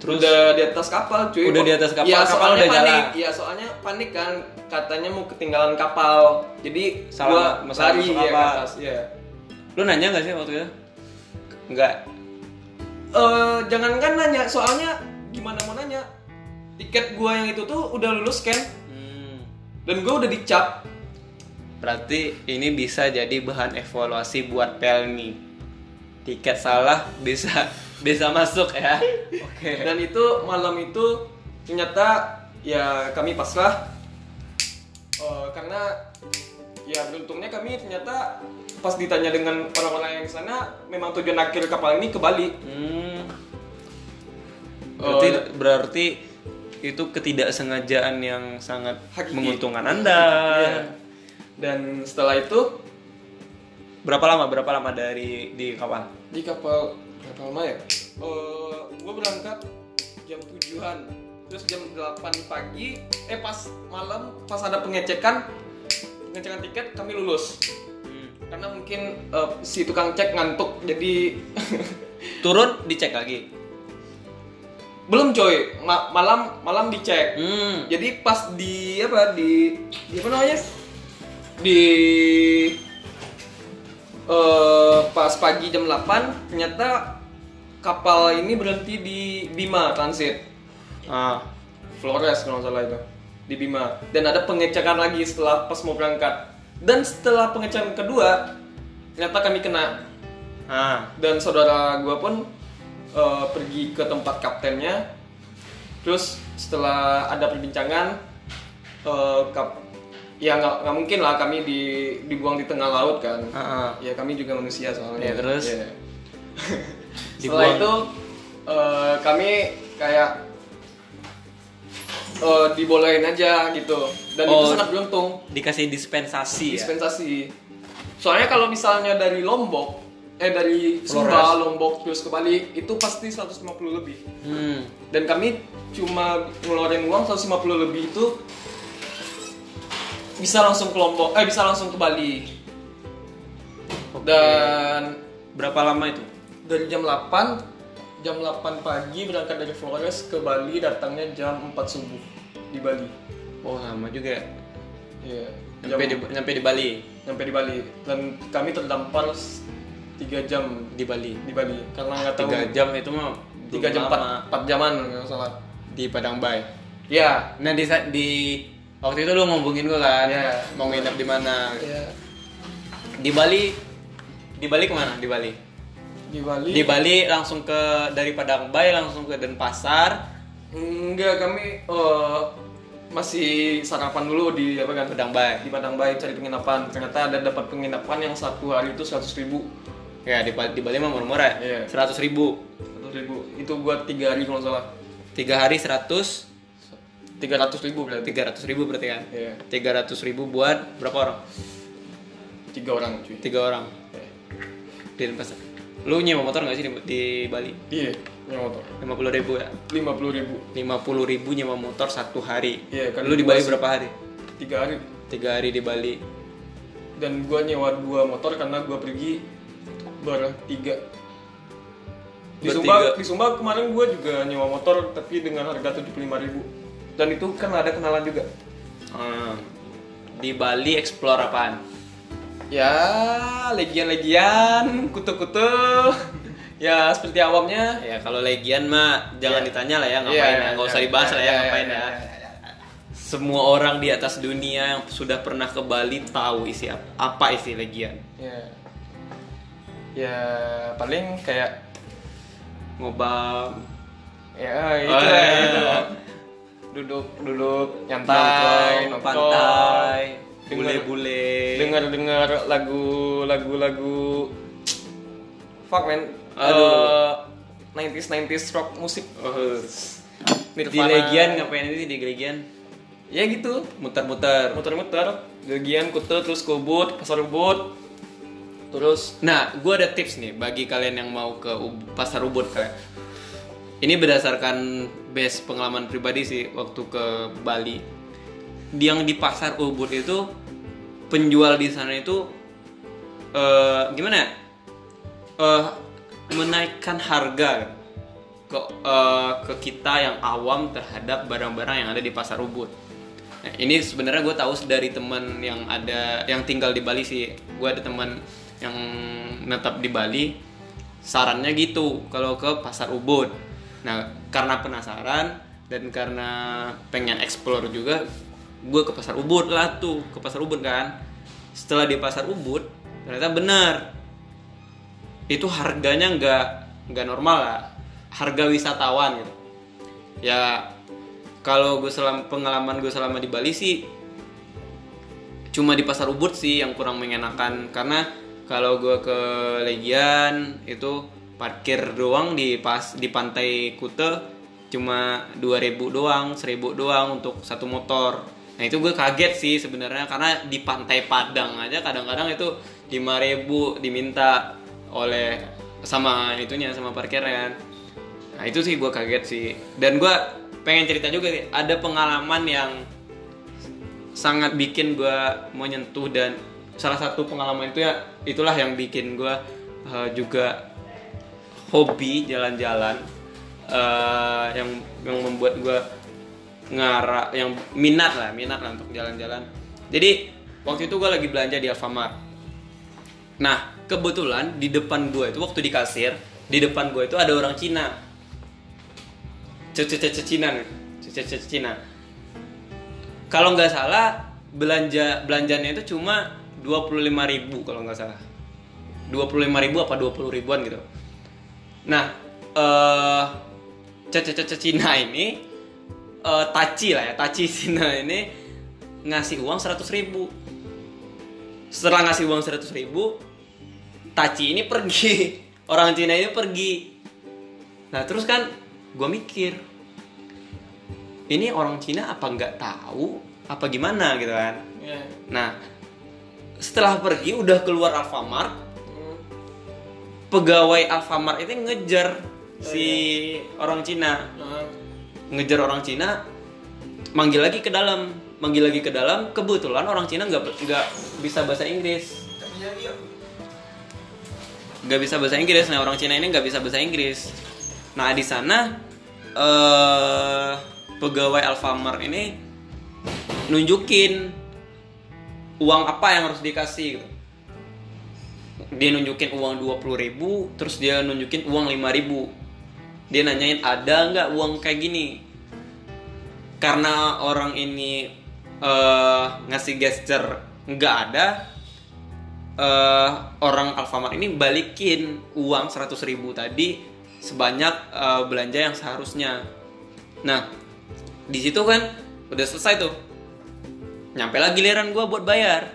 Speaker 1: Terus udah di atas kapal, cuy.
Speaker 2: Udah di atas kapal,
Speaker 1: Iya,
Speaker 2: kapal
Speaker 1: soalnya
Speaker 2: udah
Speaker 1: panik.
Speaker 2: jalan.
Speaker 1: Iya, soalnya panik kan katanya mau ketinggalan kapal. Jadi
Speaker 2: Salah,
Speaker 1: gua
Speaker 2: masalah
Speaker 1: lari
Speaker 2: masuk
Speaker 1: ya ke
Speaker 2: kapal.
Speaker 1: atas, iya.
Speaker 2: lu nanya nggak sih waktu itu? Enggak.
Speaker 1: Eh, jangankan nanya, soalnya gimana mau nanya? Tiket gua yang itu tuh udah lulus kan
Speaker 2: Hmm.
Speaker 1: dan gua udah dicap.
Speaker 2: Berarti ini bisa jadi bahan evaluasi buat Pelni. Tiket salah bisa bisa masuk ya. Oke.
Speaker 1: Dan itu malam itu ternyata ya kami pasrah Eh, karena ya beruntungnya kami ternyata pas ditanya dengan orang-orang yang di sana memang tujuan akhir kapal ini ke Bali
Speaker 2: Hmm. Oh, iya. Berarti berarti itu ketidaksengajaan yang sangat
Speaker 1: Hakiki.
Speaker 2: menguntungkan Anda.
Speaker 1: Iya. Dan setelah itu
Speaker 2: Berapa lama? Berapa lama dari di kapal?
Speaker 1: di kapal kapal lama ya? Eh, gue berangkat jam 7-an. Terus jam 8 pagi, eh pas malam pas ada pengecekan pengecekan tiket kami lulus.
Speaker 2: Hmm.
Speaker 1: Karena mungkin eh, si tukang cek ngantuk jadi
Speaker 2: Turun dicek lagi.
Speaker 1: belum coy. Ma- malam malam dicek.
Speaker 2: Hmm.
Speaker 1: Jadi pas di apa di, di apa namanya? Di eh, pas pagi jam 8 ternyata kapal ini berhenti di Bima transit.
Speaker 4: Ah,
Speaker 1: Flores kalau nggak salah itu di Bima dan ada pengecekan lagi setelah pas mau berangkat dan setelah pengecekan kedua ternyata kami kena
Speaker 4: ah.
Speaker 1: dan saudara gua pun eh, pergi ke tempat kaptennya terus setelah ada perbincangan eh, kap ya nggak nggak mungkin lah kami di dibuang di tengah laut kan
Speaker 4: Ah, ah.
Speaker 1: ya kami juga manusia soalnya
Speaker 4: Ya, terus?
Speaker 1: Iya.
Speaker 4: Dibuang.
Speaker 1: setelah itu eh, kami kayak eh, dibolehin aja gitu dan itu
Speaker 4: Oh.
Speaker 1: sangat beruntung
Speaker 4: Dikasih
Speaker 1: Iya.
Speaker 4: dispensasi ya.
Speaker 1: dispensasi. Soalnya kalau misalnya dari Lombok, eh dari Sumba, Lombok terus ke Bali itu pasti 150 lebih.
Speaker 4: Hmm.
Speaker 1: Dan kami cuma ngeluarin uang 150 lebih itu bisa langsung ke Lombok, eh bisa langsung ke Bali. Dan
Speaker 4: Berapa lama itu?
Speaker 1: dari jam 8 jam 8 pagi berangkat dari Flores ke Bali datangnya jam 4 subuh di Bali.
Speaker 2: Oh sama juga.
Speaker 1: Iya. Jam-
Speaker 2: Nyampe di, nyampe di Bali
Speaker 1: nyampe di Bali dan kami terdampar 3 jam
Speaker 2: di Bali.
Speaker 1: di Bali karena nggak tahu
Speaker 2: Tiga jam itu mah
Speaker 1: tiga jam
Speaker 2: belum
Speaker 1: empat
Speaker 2: lama.
Speaker 1: empat jaman kalau nggak salah
Speaker 2: di Padang Bay.
Speaker 1: ya
Speaker 2: Nah di sa- di waktu itu lu ngomongin gua kan
Speaker 1: Iya.
Speaker 2: mau nginep di mana?
Speaker 1: ya
Speaker 2: Di Bali di Bali kemana? Di Bali.
Speaker 1: di Bali
Speaker 2: Di Bali langsung ke dari Padang Bay langsung ke Denpasar,
Speaker 1: enggak kami eh, masih sarapan dulu di apa kan
Speaker 2: Padang Bay.
Speaker 1: di Padang Bay cari penginapan ternyata ada dapat penginapan yang satu hari itu seratus ribu
Speaker 2: Ya di, Ba- di Bali mah murah-murah
Speaker 1: Iya.
Speaker 2: ya. Seratus ribu.
Speaker 1: seratus ribu itu buat tiga hari kalau nggak salah
Speaker 2: Tiga hari seratus,
Speaker 1: tiga ratus ribu berarti
Speaker 2: tiga ratus ribu berarti kan?
Speaker 1: Iya.
Speaker 2: Tiga ratus ribu buat berapa orang?
Speaker 1: tiga orang cuy Iya.
Speaker 2: Tiga orang. Di Denpasar. Lu nyewa motor nggak sih di, di Bali?
Speaker 1: iya yang motor
Speaker 2: Lima puluh ribu ya?
Speaker 1: lima puluh ribu
Speaker 2: lima puluh ribu nyewa motor satu hari.
Speaker 1: Iya, kan
Speaker 2: Lu di
Speaker 1: gua
Speaker 2: Bali
Speaker 1: sih-
Speaker 2: berapa hari?
Speaker 1: tiga hari
Speaker 2: Tiga hari di Bali.
Speaker 1: dan gua nyewa dua motor karena gua pergi bertiga di Sumba
Speaker 2: Bertiga.
Speaker 1: di Sumba kemarin gua juga nyewa motor tapi dengan harga 75.000 dan itu kan ada kenalan juga
Speaker 2: Hmm. Di Bali explore apaan?
Speaker 1: ya legian-legian kutu-kutu ya seperti awamnya
Speaker 2: Ya kalau legian mah jangan
Speaker 1: Iya.
Speaker 2: ditanya lah ya ngapain
Speaker 1: Iya,
Speaker 2: ya, nggak usah
Speaker 1: iya,
Speaker 2: dibahas
Speaker 1: iya,
Speaker 2: lah ya
Speaker 1: iya,
Speaker 2: ngapain ya.
Speaker 1: iya, iya, iya, iya.
Speaker 2: Semua orang di atas dunia yang sudah pernah ke Bali tahu isi ap- apa isi legian.
Speaker 1: ya ya paling kayak
Speaker 2: Ngobam.
Speaker 1: ya itu
Speaker 2: Oh,
Speaker 1: lah,
Speaker 2: iya,
Speaker 1: gitu
Speaker 2: iya.
Speaker 1: lah. duduk duduk
Speaker 2: Nongkrong,
Speaker 1: nyantai nonton,
Speaker 2: pantai,
Speaker 1: dengar-
Speaker 2: bule-bule.
Speaker 1: dengar dengar lagu lagu lagu fuck man
Speaker 2: Aduh.
Speaker 1: Eh, 90s 90s rock musik
Speaker 2: Oh. Di
Speaker 1: Nirvana.
Speaker 2: legian ngapain sih di legian?
Speaker 1: ya gitu
Speaker 2: Muter-muter.
Speaker 1: muter-muter bagian kute terus kubut pasar ubud terus
Speaker 2: Nah, gue ada tips nih bagi kalian yang mau ke Ub- pasar Ubud kalian. Ini berdasarkan base pengalaman pribadi sih waktu ke Bali. Yang di pasar Ubud itu penjual di sana itu eh, gimana? ya? Eh, menaikkan harga ke eh, ke kita yang awam terhadap barang-barang yang ada di pasar Ubud. Nah, ini sebenarnya gue tahu dari teman yang ada yang tinggal di Bali sih. Gue ada teman yang netap di Bali. Sarannya gitu kalau ke pasar Ubud. Nah karena penasaran dan karena pengen explore juga, gue ke pasar Ubud lah tuh ke pasar Ubud kan. Setelah di pasar Ubud ternyata benar itu harganya nggak nggak normal lah harga wisatawan gitu ya kalau gue selama pengalaman gue selama di Bali sih cuma di pasar Ubud sih yang kurang mengenakan karena kalau gue ke Legian itu parkir doang di pas di pantai Kute cuma 2000 doang, 1000 doang untuk satu motor. Nah, itu gue kaget sih sebenarnya karena di pantai Padang aja kadang-kadang itu 5000 diminta oleh sama itunya sama parkirnya kan. Nah itu sih gue kaget sih Dan gue pengen cerita juga sih Ada pengalaman yang Sangat bikin gue menyentuh Dan salah satu pengalaman itu ya Itulah yang bikin gue juga Hobi jalan-jalan eh, Yang yang membuat gue Ngara Yang minat lah Minat lah untuk jalan-jalan Jadi waktu itu gue lagi belanja di Alfamart Nah kebetulan di depan gue itu waktu di kasir di depan gue itu ada orang Cina cece Cina nih cece Cina kalau nggak salah belanja belanjanya itu cuma 25.000 kalau nggak salah 25.000 apa 20 ribuan gitu nah eh cece Cina ini eh, taci lah ya taci Cina ini ngasih uang 100.000 setelah ngasih uang 100.000 Taci ini pergi orang Cina ini pergi nah terus kan gue mikir ini orang Cina apa nggak tahu apa gimana gitu kan
Speaker 1: Iya.
Speaker 2: Nah, setelah pergi udah keluar Alfamart,
Speaker 1: Hmm.
Speaker 2: pegawai Alfamart itu ngejar si orang Cina,
Speaker 1: Nah,
Speaker 2: ngejar orang Cina, manggil lagi ke dalam, manggil lagi ke dalam. Kebetulan orang Cina nggak nggak bisa bahasa Inggris, nggak bisa bahasa Inggris. Nah orang Cina ini nggak bisa bahasa Inggris. Nah di sana eh pegawai Alfamart ini nunjukin uang apa yang harus dikasih gitu. Dia nunjukin uang 20.000 ribu, terus dia nunjukin uang 5.000 ribu. Dia nanyain ada nggak uang kayak gini. Karena orang ini eh, ngasih gesture nggak ada, eh, orang Alfamart ini balikin uang 100.000 ribu tadi sebanyak eh, belanja yang seharusnya. Nah, di situ kan udah selesai tuh nyampe lagi giliran gue buat bayar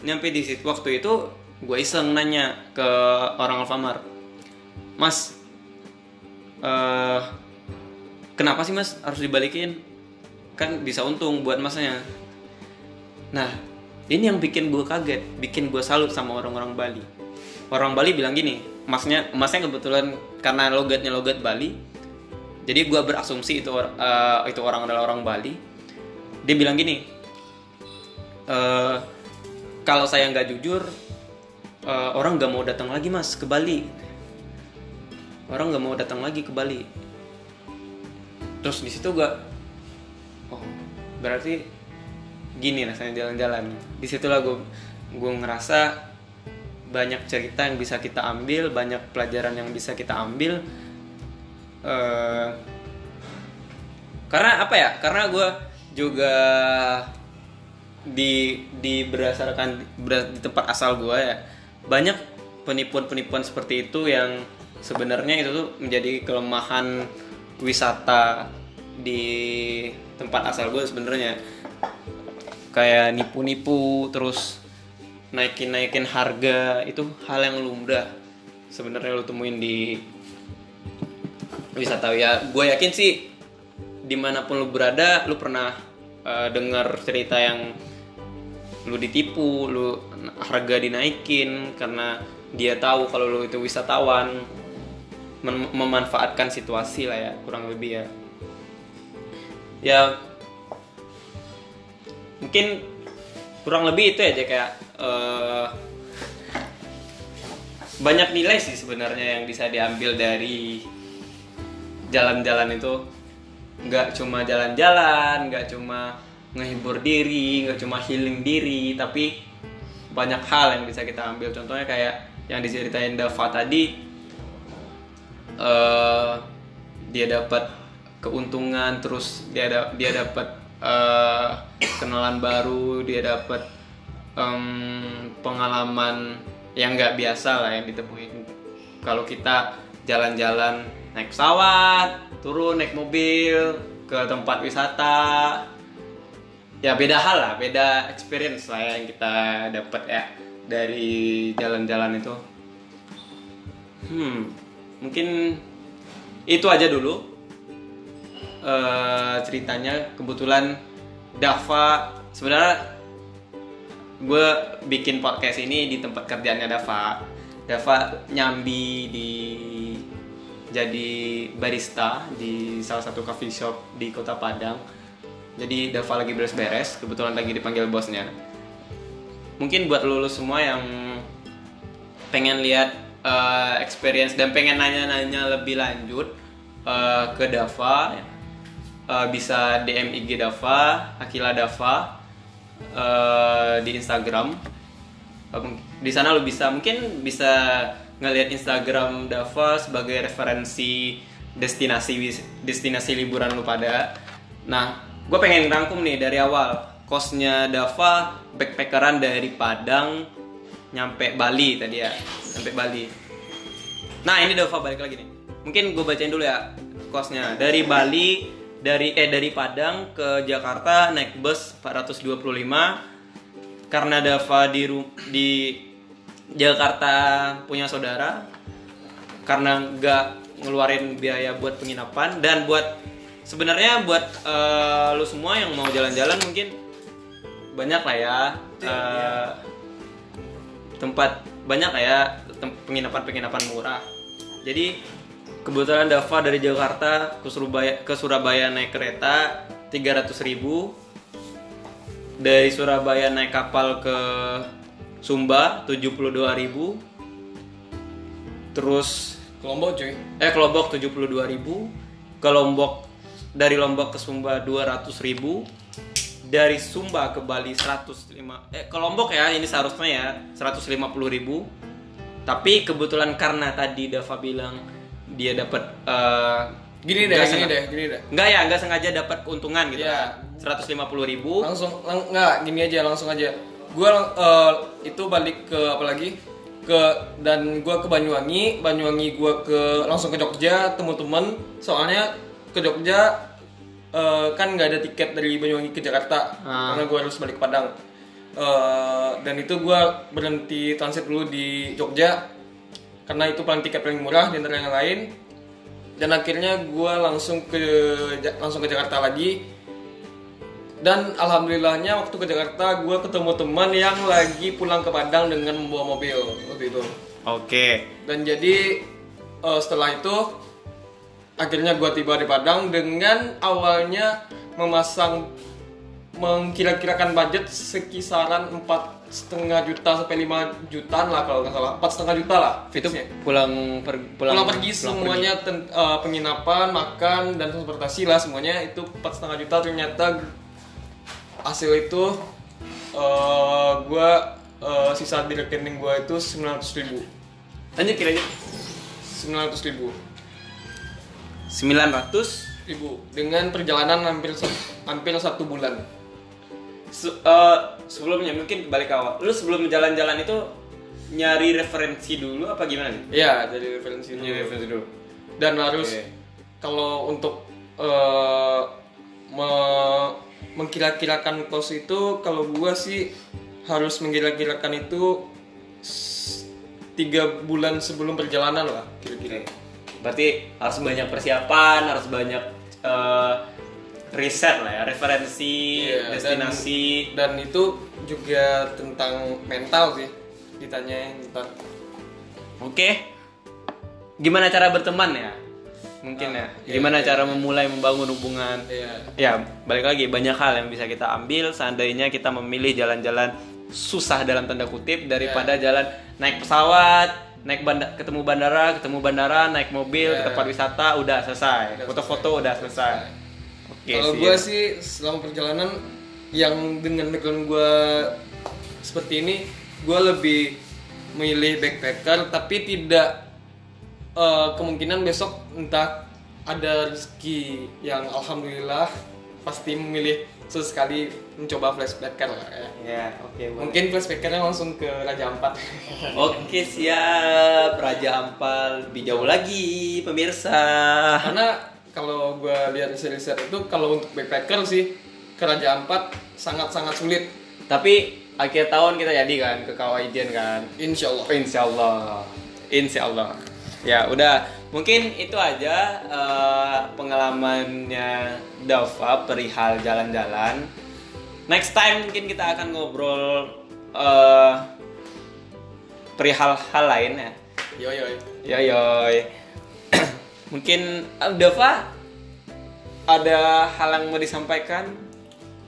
Speaker 2: nyampe di situ waktu itu gue iseng nanya ke orang Alfamart mas eh kenapa sih mas harus dibalikin kan bisa untung buat masnya nah ini yang bikin gue kaget bikin gue salut sama orang-orang Bali orang Bali bilang gini masnya masnya kebetulan karena logatnya logat Bali jadi gue berasumsi itu or- eh, itu orang adalah orang Bali dia bilang gini eh kalau saya nggak jujur eh, orang nggak mau datang lagi mas ke Bali orang nggak mau datang lagi ke Bali terus di situ gak oh berarti gini rasanya jalan-jalan disitulah gue gue ngerasa banyak cerita yang bisa kita ambil banyak pelajaran yang bisa kita ambil eh karena apa ya karena gue juga di di berdasarkan ber- di tempat asal gue ya banyak penipuan-penipuan seperti itu yang sebenarnya itu tuh menjadi kelemahan wisata di tempat asal gue sebenarnya kayak nipu-nipu terus naikin-naikin harga itu hal yang lumrah sebenarnya lo temuin di wisata ya gue yakin sih dimanapun lu berada lu pernah eh, dengar cerita yang lu ditipu lu harga dinaikin karena dia tahu kalau lu itu wisatawan Mem- memanfaatkan situasi lah ya kurang lebih ya ya mungkin kurang lebih itu aja kayak eh, banyak nilai sih sebenarnya yang bisa diambil dari jalan-jalan itu nggak cuma jalan-jalan, nggak cuma ngehibur diri, nggak cuma healing diri, tapi banyak hal yang bisa kita ambil. Contohnya kayak yang diceritain Dava tadi, eh, dia dapat keuntungan, terus dia da- dia dapat eh, kenalan baru, dia dapat em, pengalaman yang nggak biasa lah yang ditemuin kalau kita jalan-jalan naik pesawat, turun naik mobil ke tempat wisata, ya beda hal lah, beda experience lah ya yang kita dapat ya dari jalan-jalan itu. Hmm, mungkin itu aja dulu eh, ceritanya. Kebetulan Dava sebenarnya gue bikin podcast ini di tempat kerjaannya Dava. Dava nyambi di jadi barista di salah satu coffee shop di kota Padang. Jadi Dava lagi beres-beres, kebetulan lagi dipanggil bosnya. Mungkin buat lo semua yang pengen lihat eh, experience dan pengen nanya-nanya lebih lanjut eh, ke Dava, eh, bisa DM IG Dava, Akila Dava eh, di Instagram. Eh, mungkin- di sana lo bisa mungkin bisa ngelihat Instagram Dava sebagai referensi destinasi wis- destinasi liburan lu pada. Nah, gue pengen rangkum nih dari awal kosnya Dava backpackeran dari Padang nyampe Bali tadi ya, nyampe Bali. Nah ini Dova balik lagi nih. Mungkin gue bacain dulu ya kosnya dari Bali dari eh dari Padang ke Jakarta naik bus 425 karena Dava di ru- di Jakarta punya saudara karena nggak ngeluarin biaya buat penginapan dan buat sebenarnya buat eh, lu semua yang mau jalan-jalan mungkin banyak lah ya eh, tempat banyak lah ya tem- penginapan-penginapan murah. Jadi kebetulan Dava dari Jakarta ke Surabaya ke Surabaya naik kereta 300.000 dari Surabaya naik kapal ke Sumba 72.000 terus
Speaker 1: Kelompok cuy.
Speaker 2: eh ke Lombok 72.000 ke Lombok dari Lombok ke Sumba 200.000 dari Sumba ke Bali 105 eh ke Lombok ya ini seharusnya ya 150.000 tapi kebetulan karena tadi Dava bilang dia dapat eh,
Speaker 1: Gini deh,
Speaker 2: nggak
Speaker 1: gini
Speaker 2: sengaja-
Speaker 1: deh, gini deh.
Speaker 2: Enggak ya, enggak sengaja dapat keuntungan gitu
Speaker 1: Iya.
Speaker 2: ya. 150.000
Speaker 1: Langsung lang, nggak gini aja langsung aja. Gua lang- eh, itu balik ke apa lagi? Ke dan gua ke Banyuwangi, Banyuwangi gua ke langsung ke Jogja temu temen Soalnya ke Jogja eh, kan nggak ada tiket dari Banyuwangi ke Jakarta
Speaker 2: Ah.
Speaker 1: karena gua harus balik ke Padang. Eh, dan itu gua berhenti transit dulu di Jogja karena itu paling tiket paling murah di antara yang lain. dan akhirnya gue langsung ke Ja- langsung ke Jakarta lagi dan alhamdulillahnya waktu ke Jakarta gue ketemu teman yang lagi pulang ke Padang dengan membawa mobil waktu itu
Speaker 2: Oke.
Speaker 1: dan jadi eh, setelah itu akhirnya gue tiba di Padang dengan awalnya memasang mengkira-kirakan budget sekisaran empat setengah juta sampai 5 jutaan lah kalau nggak salah empat setengah juta lah
Speaker 5: Itu
Speaker 2: Iya.
Speaker 1: fixnya
Speaker 5: pulang per,
Speaker 1: pulang, pergi semuanya ten- eh, penginapan makan dan transportasi lah semuanya itu empat setengah juta ternyata hasil itu eh gue sisa di rekening gue itu sembilan ratus ribu
Speaker 2: Lanjut kiranya
Speaker 1: sembilan ratus ribu
Speaker 2: 900
Speaker 1: ribu dengan perjalanan hampir sa- hampir satu bulan
Speaker 2: Se- eh, sebelumnya mungkin balik ke awal. Lu sebelum jalan-jalan itu nyari referensi dulu apa gimana nih?
Speaker 1: ya dari referensi dulu. dan harus
Speaker 2: Oke.
Speaker 1: kalau untuk eh, me- mengkira-kirakan kos itu kalau gua sih harus mengkira-kirakan itu s- tiga bulan sebelum perjalanan lah kira-kira
Speaker 2: Berarti harus banyak persiapan, harus banyak eh, riset lah ya, referensi,
Speaker 1: Iya, dan-
Speaker 2: destinasi.
Speaker 1: dan itu juga tentang mental sih ditanyain tentang
Speaker 2: Oke. Gimana cara berteman ya? Mungkin
Speaker 1: Ah,
Speaker 2: ya. Gimana cara memulai membangun hubungan?
Speaker 1: Iya.
Speaker 2: Ya, balik lagi banyak hal yang bisa kita ambil seandainya kita memilih jalan-jalan susah dalam tanda kutip daripada jalan naik pesawat, naik bandar, ketemu bandara, ketemu bandara, naik mobil, ke tempat wisata, Ya. udah selesai. Foto-foto udah selesai. Oke Iya
Speaker 1: Kalau
Speaker 2: sih.
Speaker 1: gue sih selama perjalanan yang dengan background gue seperti ini, gue lebih milih backpacker tapi tidak eh, kemungkinan besok entah ada rezeki yang alhamdulillah pasti memilih sesekali mencoba flashbacker lah ya.
Speaker 2: Ya, oke. boleh.
Speaker 1: Mungkin flashbackernya langsung ke Raja Ampat.
Speaker 2: Oke, siap. Raja Ampal lebih jauh lagi, pemirsa.
Speaker 1: Karena kalau gue lihat riset-riset itu kalau untuk backpacker sih ke Raja Ampat sangat-sangat sulit.
Speaker 5: Tapi akhir tahun kita jadi kan ke Kawaijen kan.
Speaker 1: Insya Allah.
Speaker 5: Insya Allah.
Speaker 2: Insya Allah. Ya udah, mungkin itu aja eh, pengalamannya Dava perihal jalan-jalan. Next time mungkin kita akan ngobrol eh, perihal hal lain ya.
Speaker 1: Yo yo.
Speaker 5: Iya,
Speaker 2: Ya yoi. mungkin eh, Dava ada hal yang mau disampaikan?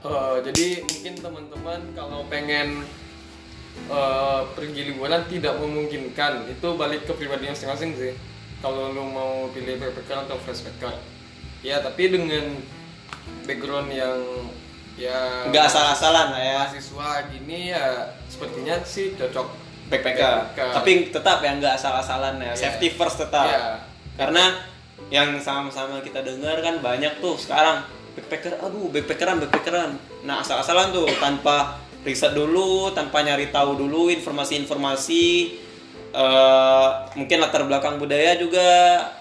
Speaker 1: Eh, jadi mungkin teman-teman kalau pengen eh, pergi liburan tidak memungkinkan itu balik ke pribadi masing-masing sih kalau lu mau pilih backpacker atau flashbacker ya tapi dengan background yang ya
Speaker 2: Nggak asal-asalan lah ya.
Speaker 1: mahasiswa gini ya sepertinya sih cocok
Speaker 2: PPK.
Speaker 1: PPK.
Speaker 2: Tapi tetap yang nggak asal-asalan ya. Safety first tetap.
Speaker 1: Iya.
Speaker 2: Karena yang sama-sama kita dengar kan banyak tuh sekarang backpacker aduh backpackeran backpackeran. Nah, asal-asalan tuh tanpa riset dulu, tanpa nyari tahu dulu informasi-informasi eh, mungkin latar belakang budaya juga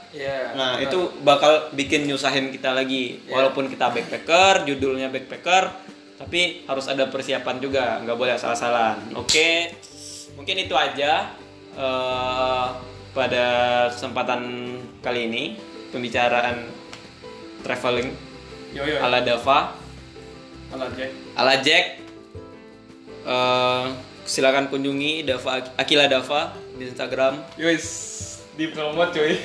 Speaker 1: Iya.
Speaker 2: Nah, itu bakal bikin nyusahin kita lagi. Walaupun kita backpacker, judulnya backpacker, tapi harus ada persiapan juga, nggak boleh asal-asalan. Oke, mungkin itu aja eh, pada kesempatan kali ini pembicaraan traveling
Speaker 1: Yo yo.
Speaker 2: ala Dava,
Speaker 1: Alat Jack.
Speaker 2: ala Jack. Eh, silakan kunjungi Dava Akila Dava di Instagram.
Speaker 1: Yowis, dipromot cuy.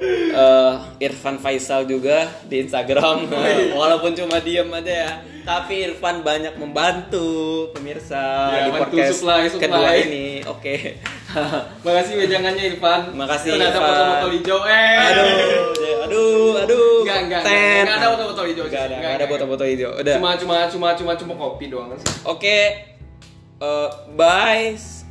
Speaker 2: eh Irfan Faisal juga di Instagram
Speaker 1: Oh, iya.
Speaker 2: walaupun cuma diem aja ya tapi Irfan banyak membantu pemirsa
Speaker 1: Ya,
Speaker 2: di
Speaker 1: bantu
Speaker 2: podcast
Speaker 1: supply, supply.
Speaker 2: kedua ini oke
Speaker 1: Makasih wejangannya Irfan.
Speaker 2: Makasih,
Speaker 1: Udah ada
Speaker 2: Irfan.
Speaker 1: foto-foto hijau. Eh.
Speaker 2: aduh aduh aduh
Speaker 1: Enggak, enggak,
Speaker 2: konten.
Speaker 1: enggak, enggak ada foto-foto hijau
Speaker 2: Enggak ada enggak
Speaker 1: sih.
Speaker 2: ada
Speaker 1: Enggak,
Speaker 2: foto-foto hijau udah
Speaker 1: Cuma cuma cuma cuma cuma kopi doang sih.
Speaker 2: oke eh, bye